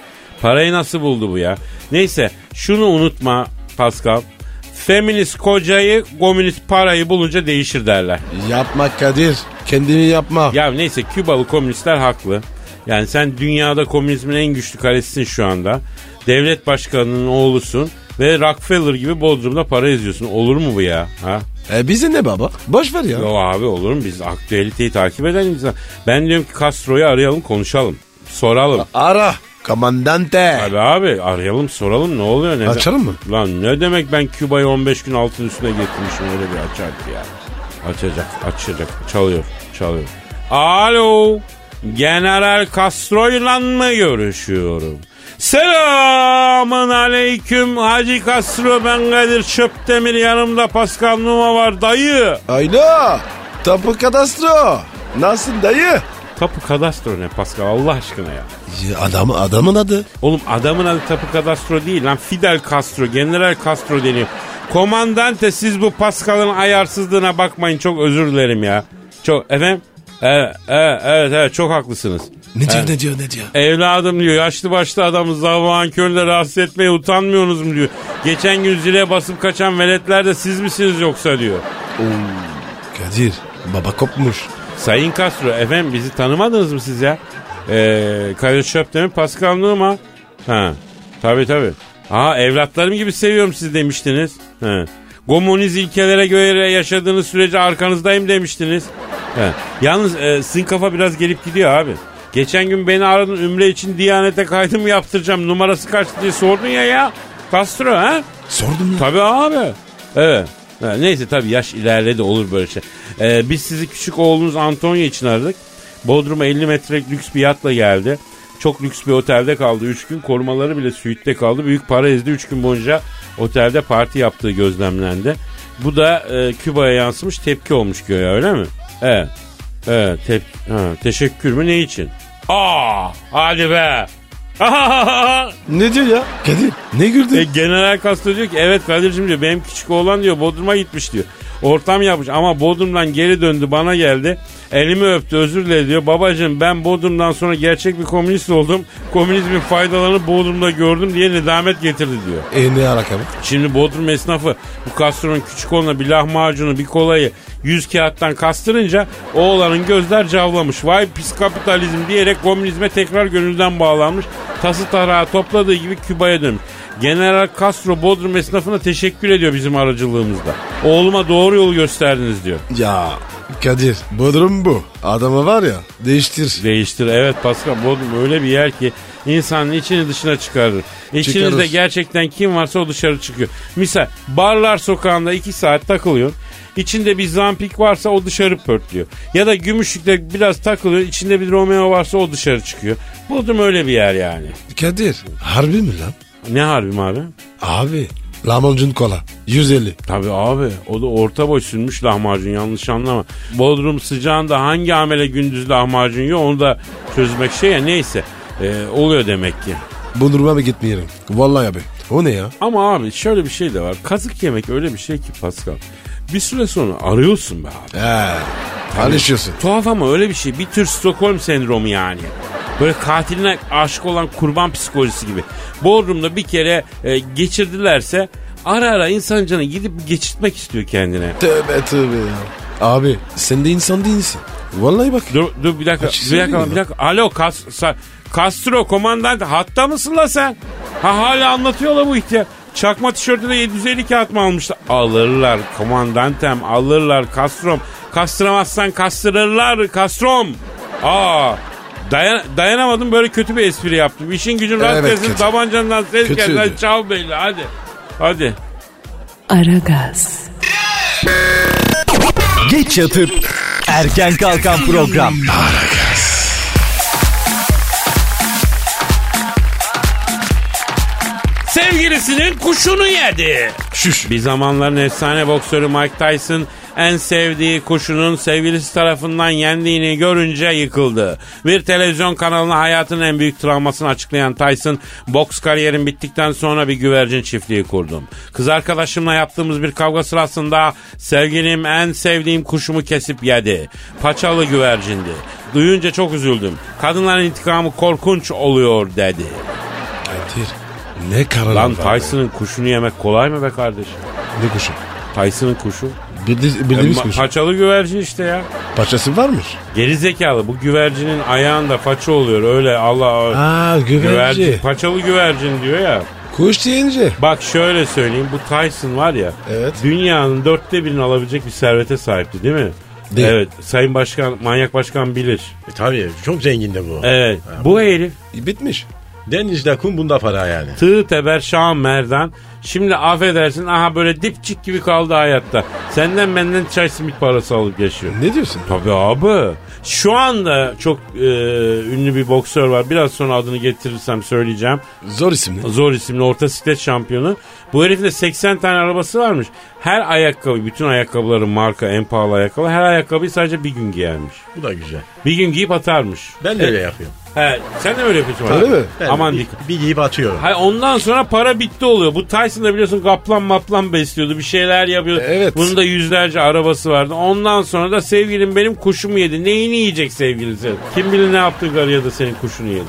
[SPEAKER 2] Parayı nasıl buldu bu ya? Neyse şunu unutma Pascal. Feminist kocayı, komünist parayı bulunca değişir derler.
[SPEAKER 3] Yapma Kadir. Kendini yapma.
[SPEAKER 2] Ya neyse Kübalı komünistler haklı. Yani sen dünyada komünizmin en güçlü kalesisin şu anda. Devlet başkanının oğlusun ve Rockefeller gibi Bodrum'da para eziyorsun. Olur mu bu ya? Ha?
[SPEAKER 3] E bize ne baba? Boş ver ya.
[SPEAKER 2] Yo abi olur mu? Biz aktüeliteyi takip eden insan. Ben diyorum ki Castro'yu arayalım konuşalım. Soralım.
[SPEAKER 3] Ara. Komandante.
[SPEAKER 2] Abi abi arayalım soralım ne oluyor? Ne
[SPEAKER 3] Açalım mı?
[SPEAKER 2] Lan ne demek ben Küba'yı 15 gün altın üstüne getirmişim öyle bir açar ki ya. Açacak açacak çalıyor çalıyor. Alo General Castro'yla mı görüşüyorum? Selamın aleyküm Hacı Castro ben Kadir Çöptemir yanımda Pascal Numa var dayı.
[SPEAKER 3] Ayla. Tapu kadastro. Nasılsın dayı?
[SPEAKER 2] Tapu kadastro ne Pascal Allah aşkına ya.
[SPEAKER 3] Ya Adam, adamın adı.
[SPEAKER 2] Oğlum adamın adı Tapu Castro değil lan Fidel Castro, General Castro deniyor. Komandante siz bu Pascal'ın ayarsızlığına bakmayın çok özür dilerim ya. Çok efendim? Evet, evet, evet, evet, çok haklısınız.
[SPEAKER 3] Ne diyor ne diyor ne diyor?
[SPEAKER 2] Evladım diyor yaşlı başlı adamı zavağın köründe rahatsız etmeye utanmıyorsunuz mu diyor. Geçen gün zile basıp kaçan veletler de siz misiniz yoksa diyor.
[SPEAKER 3] Kadir. Baba kopmuş.
[SPEAKER 2] Sayın Castro efendim bizi tanımadınız mı siz ya? Ee, Kadir Şöptemir Pascal Numa. Ha. Tabii tabii. Aa evlatlarım gibi seviyorum siz demiştiniz. Ha. Komünist ilkelere göre yaşadığınız sürece arkanızdayım demiştiniz. Ha. Yalnız e, sizin kafa biraz gelip gidiyor abi. Geçen gün beni aradın ümre için Diyanet'e kaydımı yaptıracağım numarası kaç diye sordun ya ya. Castro ha?
[SPEAKER 3] Sordum ya.
[SPEAKER 2] Tabii abi. Evet. Ha, Neyse tabii yaş ilerledi olur böyle şey. Ee, biz sizi küçük oğlunuz Antonio için aradık. Bodrum'a 50 metrelik lüks bir yatla geldi. Çok lüks bir otelde kaldı 3 gün. Korumaları bile suite'de kaldı. Büyük para ezdi 3 gün boyunca otelde parti yaptığı gözlemlendi. Bu da e, Küba'ya yansımış tepki olmuş göğe öyle mi? Evet. Evet. Tep- ha, teşekkür mü ne için? Aa, hadi be. *laughs*
[SPEAKER 3] Ne diyor ya? Kadir ne güldün?
[SPEAKER 2] E, General Castro diyor ki evet kardeşim diyor benim küçük oğlan diyor Bodrum'a gitmiş diyor. Ortam yapmış ama Bodrum'dan geri döndü bana geldi. Elimi öptü özür diledi diyor. Babacığım ben Bodrum'dan sonra gerçek bir komünist oldum. Komünizmin faydalarını Bodrum'da gördüm diye nedamet getirdi diyor.
[SPEAKER 3] E ne alakalı?
[SPEAKER 2] Şimdi Bodrum esnafı bu Castro'nun küçük oğluna bir lahmacunu bir kolayı 100 kağıttan kastırınca oğlanın gözler cavlamış. Vay pis kapitalizm diyerek komünizme tekrar gönülden bağlanmış. Tası tarağı topladığı gibi Küba'ya dönmüş. General Castro Bodrum esnafına teşekkür ediyor bizim aracılığımızda. Oğluma doğru yolu gösterdiniz diyor.
[SPEAKER 3] Ya Kadir Bodrum bu. Adamı var ya değiştir.
[SPEAKER 2] Değiştir. Evet Pascal Bodrum öyle bir yer ki insanın içini dışına çıkarır. İçinizde
[SPEAKER 3] Çıkarır.
[SPEAKER 2] gerçekten kim varsa o dışarı çıkıyor. Misal barlar sokağında iki saat takılıyor. İçinde bir zampik varsa o dışarı pörtlüyor. Ya da gümüşlükte biraz takılıyor. İçinde bir Romeo varsa o dışarı çıkıyor. Bodrum öyle bir yer yani.
[SPEAKER 3] Kadir harbi mi lan?
[SPEAKER 2] Ne harbim abi?
[SPEAKER 3] Abi Lahmacun kola. 150.
[SPEAKER 2] Tabii abi o da orta boy sürmüş lahmacun yanlış anlama. Bodrum sıcağında hangi amele gündüz lahmacun yiyor onu da çözmek şey ya neyse. Ee, oluyor demek ki.
[SPEAKER 3] Bu duruma mı gitmeyelim? Vallahi abi. O ne ya?
[SPEAKER 2] Ama abi şöyle bir şey de var. Kazık yemek öyle bir şey ki Pascal. Bir süre sonra arıyorsun be abi.
[SPEAKER 3] He. Alışıyorsun.
[SPEAKER 2] Tuhaf ama öyle bir şey. Bir tür Stockholm sendromu yani. Böyle katiline aşık olan kurban psikolojisi gibi. Bodrum'da bir kere e, geçirdilerse ara ara insan canı gidip geçirtmek istiyor kendine.
[SPEAKER 3] Tövbe tövbe ya. Abi sen de insan değilsin. Vallahi bak.
[SPEAKER 2] Dur, dur bir dakika.
[SPEAKER 3] Kaç
[SPEAKER 2] bir
[SPEAKER 3] kişi
[SPEAKER 2] dakika,
[SPEAKER 3] geliyor?
[SPEAKER 2] bir dakika. Alo Kas, Sa- Castro komandant hatta mısın la sen? Ha hala anlatıyorlar bu ihtiyar. Çakma tişörtüne 750 kağıt mı almışlar? Alırlar komandantem alırlar Castrom. Kastıramazsan kastırırlar Castrom. Aa dayan- dayanamadım böyle kötü bir espri yaptım. İşin gücün rast
[SPEAKER 3] Evet,
[SPEAKER 2] gelsin
[SPEAKER 3] kötü.
[SPEAKER 2] tabancandan ses
[SPEAKER 3] Kötüydü.
[SPEAKER 2] gelsin. Hadi Çal belli hadi. Hadi.
[SPEAKER 1] Aragaz,
[SPEAKER 5] Geç yatıp erken kalkan program.
[SPEAKER 2] Sevgilisinin kuşunu yedi. Bir zamanların efsane boksörü Mike Tyson en sevdiği kuşunun sevgilisi tarafından yendiğini görünce yıkıldı. Bir televizyon kanalına hayatının en büyük travmasını açıklayan Tyson, boks kariyerim bittikten sonra bir güvercin çiftliği kurdum. Kız arkadaşımla yaptığımız bir kavga sırasında sevgilim en sevdiğim kuşumu kesip yedi. Paçalı güvercindi. Duyunca çok üzüldüm. Kadınların intikamı korkunç oluyor dedi.
[SPEAKER 3] Kadir. Ne karar
[SPEAKER 2] Lan
[SPEAKER 3] var be?
[SPEAKER 2] Tyson'ın kuşunu yemek kolay mı be kardeşim?
[SPEAKER 3] Ne kuşu?
[SPEAKER 2] Tyson'ın kuşu.
[SPEAKER 3] Bildi-
[SPEAKER 2] E,
[SPEAKER 3] Bildiğimiz
[SPEAKER 2] ma-
[SPEAKER 3] kuş.
[SPEAKER 2] Paçalı güvercin işte ya.
[SPEAKER 3] Paçası varmış.
[SPEAKER 2] Geri zekalı bu güvercinin ayağında paça oluyor öyle Allah
[SPEAKER 3] Aa güvenci.
[SPEAKER 2] paçalı güvercin diyor ya.
[SPEAKER 3] Kuş deyince.
[SPEAKER 2] Bak şöyle söyleyeyim bu Tyson var ya.
[SPEAKER 3] Evet.
[SPEAKER 2] Dünyanın dörtte birini alabilecek bir servete sahipti değil mi?
[SPEAKER 3] Değil.
[SPEAKER 2] Evet. Sayın Başkan, Manyak Başkan bilir.
[SPEAKER 6] E, tabii çok zengin de bu.
[SPEAKER 2] Evet. Bu herif
[SPEAKER 3] Bitmiş.
[SPEAKER 6] Denizde kum bunda para yani.
[SPEAKER 2] Tığ teber Şahan Merdan. Şimdi affedersin aha böyle dipçik gibi kaldı hayatta. Senden benden çay simit parası alıp yaşıyor.
[SPEAKER 3] Ne diyorsun?
[SPEAKER 2] Tabii abi. Şu anda çok e, ünlü bir boksör var. Biraz sonra adını getirirsem söyleyeceğim.
[SPEAKER 3] Zor isimli.
[SPEAKER 2] Zor isimli orta siklet şampiyonu. Bu herifin de 80 tane arabası varmış. Her ayakkabı, bütün ayakkabıların marka en pahalı ayakkabı. Her ayakkabıyı sadece bir gün giyermiş.
[SPEAKER 6] Bu da güzel.
[SPEAKER 2] Bir gün giyip atarmış.
[SPEAKER 6] Ben de öyle yapıyorum.
[SPEAKER 2] He, sen de öyle yapıyorsun.
[SPEAKER 3] Öyle
[SPEAKER 2] abi.
[SPEAKER 3] mi?
[SPEAKER 6] Ben de
[SPEAKER 2] Aman
[SPEAKER 6] bir,
[SPEAKER 2] dikkat.
[SPEAKER 6] bir giyip atıyorum.
[SPEAKER 2] Hayır ondan sonra para bitti oluyor. Bu Tyson da biliyorsun kaplan maplan besliyordu. Bir şeyler yapıyordu.
[SPEAKER 3] Evet.
[SPEAKER 2] Bunun da yüzlerce arabası vardı. Ondan sonra da sevgilim benim kuşumu yedi. Neyini yiyecek sevgilisi? Kim bilir ne yaptı karıya da senin kuşunu yedi.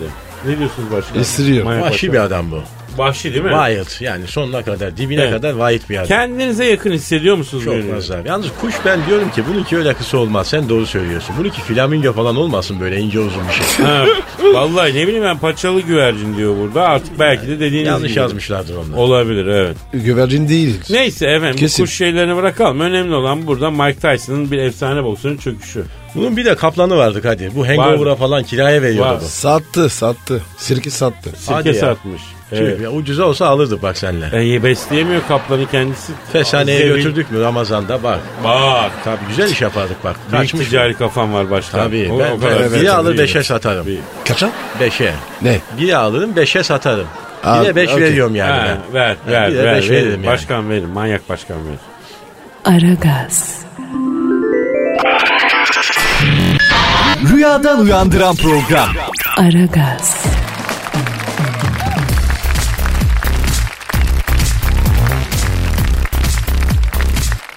[SPEAKER 2] Ne diyorsunuz başkanım?
[SPEAKER 3] Isırıyor.
[SPEAKER 2] Manyak
[SPEAKER 6] Vahşi bir
[SPEAKER 2] başkanım.
[SPEAKER 6] adam bu.
[SPEAKER 2] Vahşi değil mi?
[SPEAKER 6] Wild yani sonuna kadar dibine
[SPEAKER 2] Evet.
[SPEAKER 6] kadar wild bir adam.
[SPEAKER 2] Kendinize yakın hissediyor musunuz?
[SPEAKER 6] Çok
[SPEAKER 2] birbirini?
[SPEAKER 6] nazar. Yalnız kuş ben diyorum ki bununki öyle kısa olmaz. Sen doğru söylüyorsun. Bununki flamingo falan olmasın böyle ince uzun bir şey.
[SPEAKER 2] *laughs* Ha, Vallahi ne bileyim ben paçalı güvercin diyor burada. Artık belki de dediğiniz
[SPEAKER 6] Ee, Yanlış
[SPEAKER 2] gibi.
[SPEAKER 6] yazmışlardır onlar.
[SPEAKER 2] Olabilir evet.
[SPEAKER 3] Güvercin değil.
[SPEAKER 2] Neyse efendim bu
[SPEAKER 3] Kesin.
[SPEAKER 2] kuş şeylerini bırakalım. Önemli olan burada Mike Tyson'ın bir efsane boksörün çöküşü.
[SPEAKER 6] Bunun bir de kaplanı vardı hadi. Bu
[SPEAKER 2] Vardı.
[SPEAKER 6] hangover'a falan kiraya veriyordu
[SPEAKER 2] Vardı.
[SPEAKER 6] bu.
[SPEAKER 3] Sattı sattı. Sirki sattı.
[SPEAKER 6] Hadi
[SPEAKER 2] Sirke
[SPEAKER 6] ya.
[SPEAKER 2] satmış.
[SPEAKER 6] Tüh,
[SPEAKER 2] Evet.
[SPEAKER 6] Şey, ya ucuza olsa alırdık bak senle.
[SPEAKER 2] E, besleyemiyor kaplanı kendisi.
[SPEAKER 6] Fesaneye
[SPEAKER 2] Zevil-
[SPEAKER 6] götürdük mü Ramazan'da bak.
[SPEAKER 2] Bak.
[SPEAKER 6] Tabii güzel iş yapardık bak.
[SPEAKER 2] Kaçmış
[SPEAKER 6] Kaçmış.
[SPEAKER 2] ticari kafam var başta.
[SPEAKER 6] Tabii. ben, ben biri alır beşe satarım.
[SPEAKER 3] Kaça?
[SPEAKER 6] Beşe.
[SPEAKER 3] Ne?
[SPEAKER 6] Biri alırım beşe satarım.
[SPEAKER 3] Abi,
[SPEAKER 6] Bir de beş
[SPEAKER 3] okey.
[SPEAKER 6] veriyorum yani
[SPEAKER 2] Ha,
[SPEAKER 6] ben.
[SPEAKER 2] ver
[SPEAKER 6] Ben
[SPEAKER 2] ver
[SPEAKER 6] bir de
[SPEAKER 2] ver.
[SPEAKER 6] beş
[SPEAKER 2] verin.
[SPEAKER 6] veririm yani.
[SPEAKER 2] Başkan verin. Manyak başkan verin.
[SPEAKER 1] Aragaz,
[SPEAKER 5] Rüyadan uyandıran program.
[SPEAKER 1] Aragaz,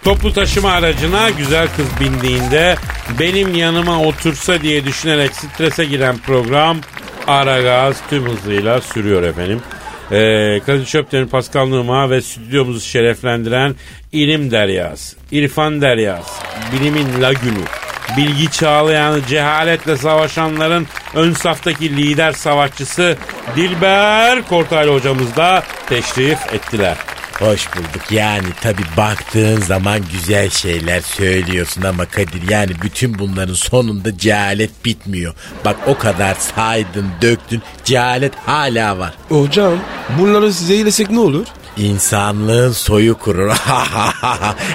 [SPEAKER 2] Toplu taşıma aracına güzel kız bindiğinde benim yanıma otursa diye düşünerek strese giren program Aragaz tüm hızıyla sürüyor efendim. Ee, Kadir Çöpten'in Pascal Numa ve stüdyomuzu şereflendiren ilim deryası, irfan deryası, bilimin lagünü, Bilgi çağlayanı cehaletle savaşanların ön saftaki lider savaşçısı Dilber Kortaylı hocamız da teşrif ettiler.
[SPEAKER 7] Hoş bulduk. Yani tabi baktığın zaman güzel şeyler söylüyorsun ama Kadir yani bütün bunların sonunda cehalet bitmiyor. Bak o kadar saydın döktün cehalet hala var.
[SPEAKER 3] Hocam bunları size ilesek ne olur?
[SPEAKER 7] İnsanlığın soyu
[SPEAKER 6] *laughs*
[SPEAKER 7] kurur.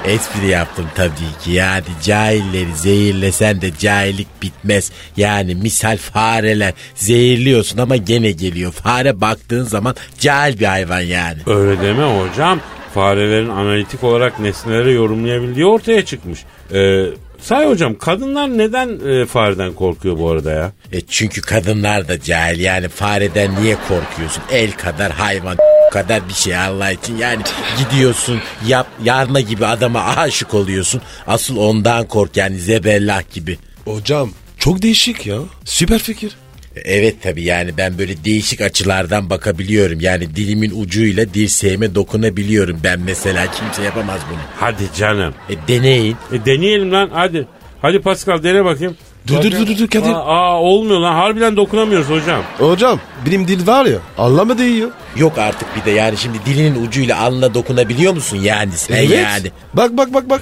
[SPEAKER 7] Espri yaptım tabii ki. Yani cahilleri zehirlesen de cahillik bitmez. Yani misal fareler zehirliyorsun ama gene geliyor. Fare baktığın zaman cahil bir hayvan yani.
[SPEAKER 2] Öyle deme hocam. farelerin analitik olarak nesneleri yorumlayabildiği ortaya çıkmış. Ee, say hocam kadınlar neden e, fareden korkuyor bu arada ya?
[SPEAKER 6] E çünkü kadınlar da cahil yani fareden niye korkuyorsun? El kadar hayvan *laughs* kadar bir şey Allah için yani gidiyorsun yap yarna gibi adama aşık oluyorsun asıl ondan kork yani zebellah gibi.
[SPEAKER 3] Hocam çok değişik ya. Süper fikir.
[SPEAKER 6] E, Evet tabi yani ben böyle değişik açılardan bakabiliyorum yani dilimin ucuyla dirseğime dokunabiliyorum ben mesela kimse yapamaz bunu.
[SPEAKER 2] Hadi canım.
[SPEAKER 6] E deneyin
[SPEAKER 2] E, deneyelim lan hadi. Hadi Pascal dene bakayım.
[SPEAKER 3] Dur dur dur dur, dur Kadir.
[SPEAKER 2] Aa, aa, olmuyor lan harbiden dokunamıyoruz hocam.
[SPEAKER 3] Hocam bilim dil var ya anlama değiyor.
[SPEAKER 6] yok artık bir de yani şimdi dilinin ucuyla alnına dokunabiliyor musun yani sen yani.
[SPEAKER 3] Bak bak bak bak.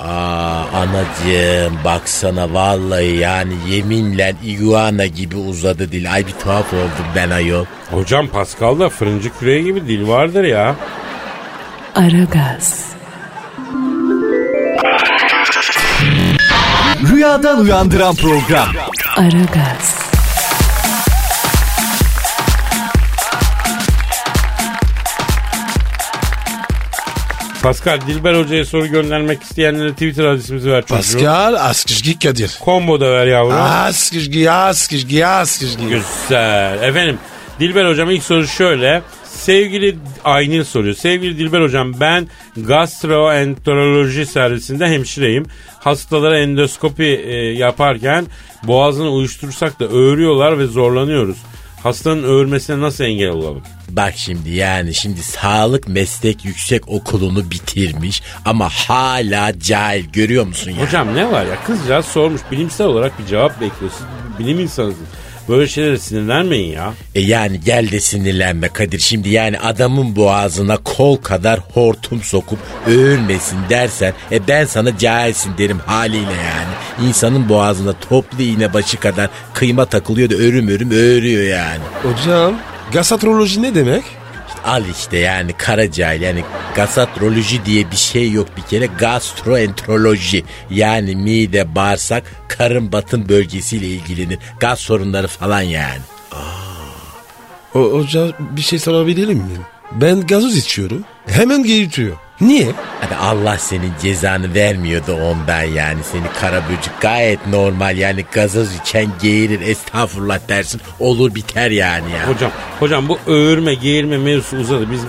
[SPEAKER 6] Aa anacığım baksana vallahi yani yeminle iguana gibi uzadı dil. Ay bir tuhaf oldum ben ayol.
[SPEAKER 2] Hocam Pascal'da fırıncı küreği gibi dil vardır ya.
[SPEAKER 1] Aragaz,
[SPEAKER 8] Rüyadan uyandıran program.
[SPEAKER 1] Aragaz,
[SPEAKER 2] Pascal Dilber Hoca'ya soru göndermek isteyenlere Twitter adresimizi ver çocuğum.
[SPEAKER 3] Pascal Askışgi Kadir.
[SPEAKER 2] Combo da ver yavrum.
[SPEAKER 3] Askışgi Askışgi Askışgi.
[SPEAKER 2] Güzel. Efendim Dilber hocam ilk soru şöyle. Sevgili Aynil soruyor. Sevgili Dilber hocam ben gastroenteroloji servisinde hemşireyim. Hastalara endoskopi e, yaparken boğazını uyuştursak da öğürüyorlar ve zorlanıyoruz. Hastanın öğürmesine nasıl engel olalım?
[SPEAKER 6] Bak şimdi yani şimdi sağlık meslek yüksek okulunu bitirmiş ama hala cahil görüyor musun ya?
[SPEAKER 2] Hocam ne var ya kızcağız sormuş bilimsel olarak bir cevap bekliyor. Siz bilim insanısınız. Böyle şeylere sinirlenmeyin ya.
[SPEAKER 6] E yani gel de sinirlenme Kadir. Şimdi yani adamın boğazına kol kadar hortum sokup öğülmesin dersen e ben sana cahilsin derim haliyle yani. İnsanın boğazına toplu iğne başı kadar kıyma takılıyor da örüm örüm öğürüyor yani.
[SPEAKER 3] Hocam gastroloji ne demek?
[SPEAKER 6] Al işte yani kara cahil yani gastroloji diye bir şey yok bir kere gastroenteroloji yani mide bağırsak karın batın bölgesiyle ilgilenir gaz sorunları falan yani.
[SPEAKER 3] O, hocam bir şey sorabilir miyim? Ben gazoz içiyorum. Hemen geri Niye?
[SPEAKER 6] Hani Allah senin cezanı vermiyordu ondan yani seni kara böcek gayet normal yani gazoz içen geğirir estağfurullah dersin olur biter yani ya.
[SPEAKER 2] Hocam, hocam bu öğürme, geğirme mevzusu uzadı. Biz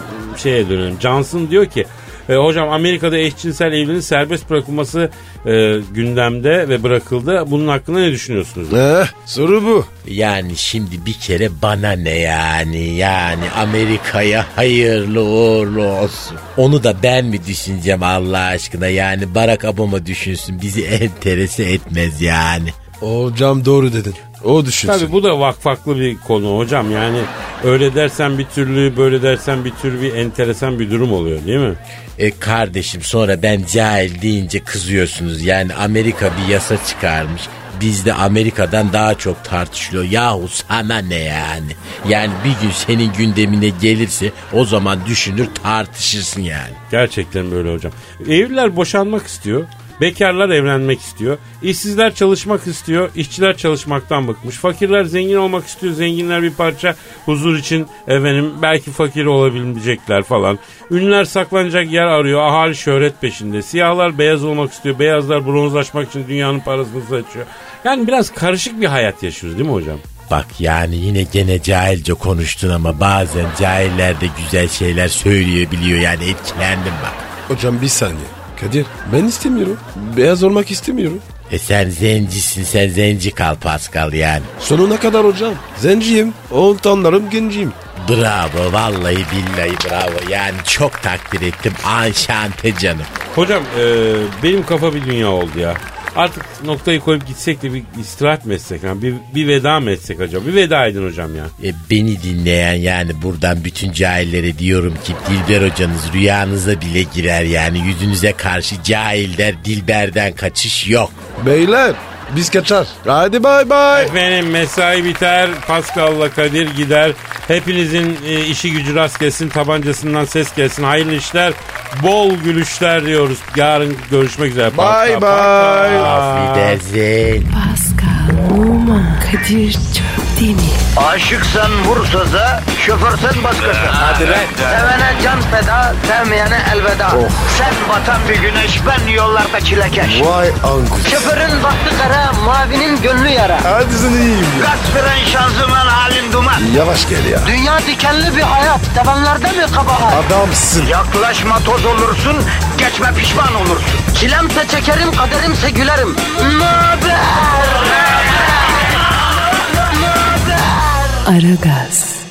[SPEAKER 2] şeye dönelim. Johnson diyor ki e, hocam Amerika'da eşcinsel evliliğin serbest bırakılması e, gündemde ve bırakıldı. Bunun hakkında ne düşünüyorsunuz?
[SPEAKER 3] Eh, soru bu.
[SPEAKER 6] Yani şimdi bir kere bana ne yani yani Amerika'ya hayırlı uğurlu olsun. Onu da ben mi düşüneceğim Allah aşkına yani Barack Obama düşünsün bizi enterese etmez yani.
[SPEAKER 3] Hocam doğru dedin. O düşünsün.
[SPEAKER 2] Tabii bu da vakfaklı bir konu hocam. Yani öyle dersen bir türlü, böyle dersen bir türlü bir enteresan bir durum oluyor değil mi?
[SPEAKER 6] E kardeşim sonra ben cahil deyince kızıyorsunuz. Yani Amerika bir yasa çıkarmış. Bizde Amerika'dan daha çok tartışılıyor. Yahu sana ne yani? Yani bir gün senin gündemine gelirse o zaman düşünür tartışırsın yani.
[SPEAKER 2] Gerçekten böyle hocam. Evliler boşanmak istiyor. Bekarlar evlenmek istiyor. işsizler çalışmak istiyor. işçiler çalışmaktan bıkmış. Fakirler zengin olmak istiyor. Zenginler bir parça huzur için efendim belki fakir olabilecekler falan. Ünlüler saklanacak yer arıyor. Ahali şöhret peşinde. Siyahlar beyaz olmak istiyor. Beyazlar bronzlaşmak için dünyanın parasını saçıyor. Yani biraz karışık bir hayat yaşıyoruz değil mi hocam?
[SPEAKER 6] Bak yani yine gene cahilce konuştun ama bazen cahiller de güzel şeyler söyleyebiliyor. Yani etkilendim bak.
[SPEAKER 3] Hocam bir saniye. Kadir ben istemiyorum. Beyaz olmak istemiyorum.
[SPEAKER 6] E sen zencisin sen zenci kal Pascal yani.
[SPEAKER 3] Sonuna kadar hocam. Zenciyim. Oltanlarım genciyim.
[SPEAKER 6] Bravo vallahi billahi bravo yani çok takdir ettim anşante canım.
[SPEAKER 2] Hocam e, benim kafa bir dünya oldu ya. Artık noktayı koyup gitsek de bir istirahat mı etsek? Yani bir, bir veda mı etsek acaba? Bir veda edin hocam ya.
[SPEAKER 6] E, beni dinleyen yani buradan bütün cahillere diyorum ki Dilber hocanız rüyanıza bile girer yani yüzünüze karşı cahil der Dilber'den kaçış yok.
[SPEAKER 3] Beyler biz kaçar. Hadi bay bay.
[SPEAKER 2] Benim mesai biter, Pascal'la Kadir gider. Hepinizin e, işi gücü rast gelsin, tabancasından ses gelsin. Hayırlı işler, bol gülüşler diyoruz. Yarın görüşmek üzere.
[SPEAKER 3] Bay
[SPEAKER 2] Pascal, Pascal.
[SPEAKER 3] bay.
[SPEAKER 6] Afiyet olsun.
[SPEAKER 1] Pascal, Oman, Kadir çok bitti mi?
[SPEAKER 9] Aşıksan vursa da, şoförsen başkasın. Hadi be. Sevene can feda, sevmeyene elveda. Sen batan bir güneş, ben yollarda çilekeş.
[SPEAKER 10] Vay anku.
[SPEAKER 9] Şoförün baktı kara, mavinin gönlü yara.
[SPEAKER 10] Hadi sen iyiyim ya.
[SPEAKER 9] Kasperen şanzıman halin duman.
[SPEAKER 10] Yavaş gel ya.
[SPEAKER 9] Dünya dikenli bir hayat, sevenlerde mi kabahar?
[SPEAKER 10] Adamsın.
[SPEAKER 9] Yaklaşma toz olursun, geçme pişman olursun. Çilemse çekerim, kaderimse gülerim. Möber!
[SPEAKER 1] Aragaz.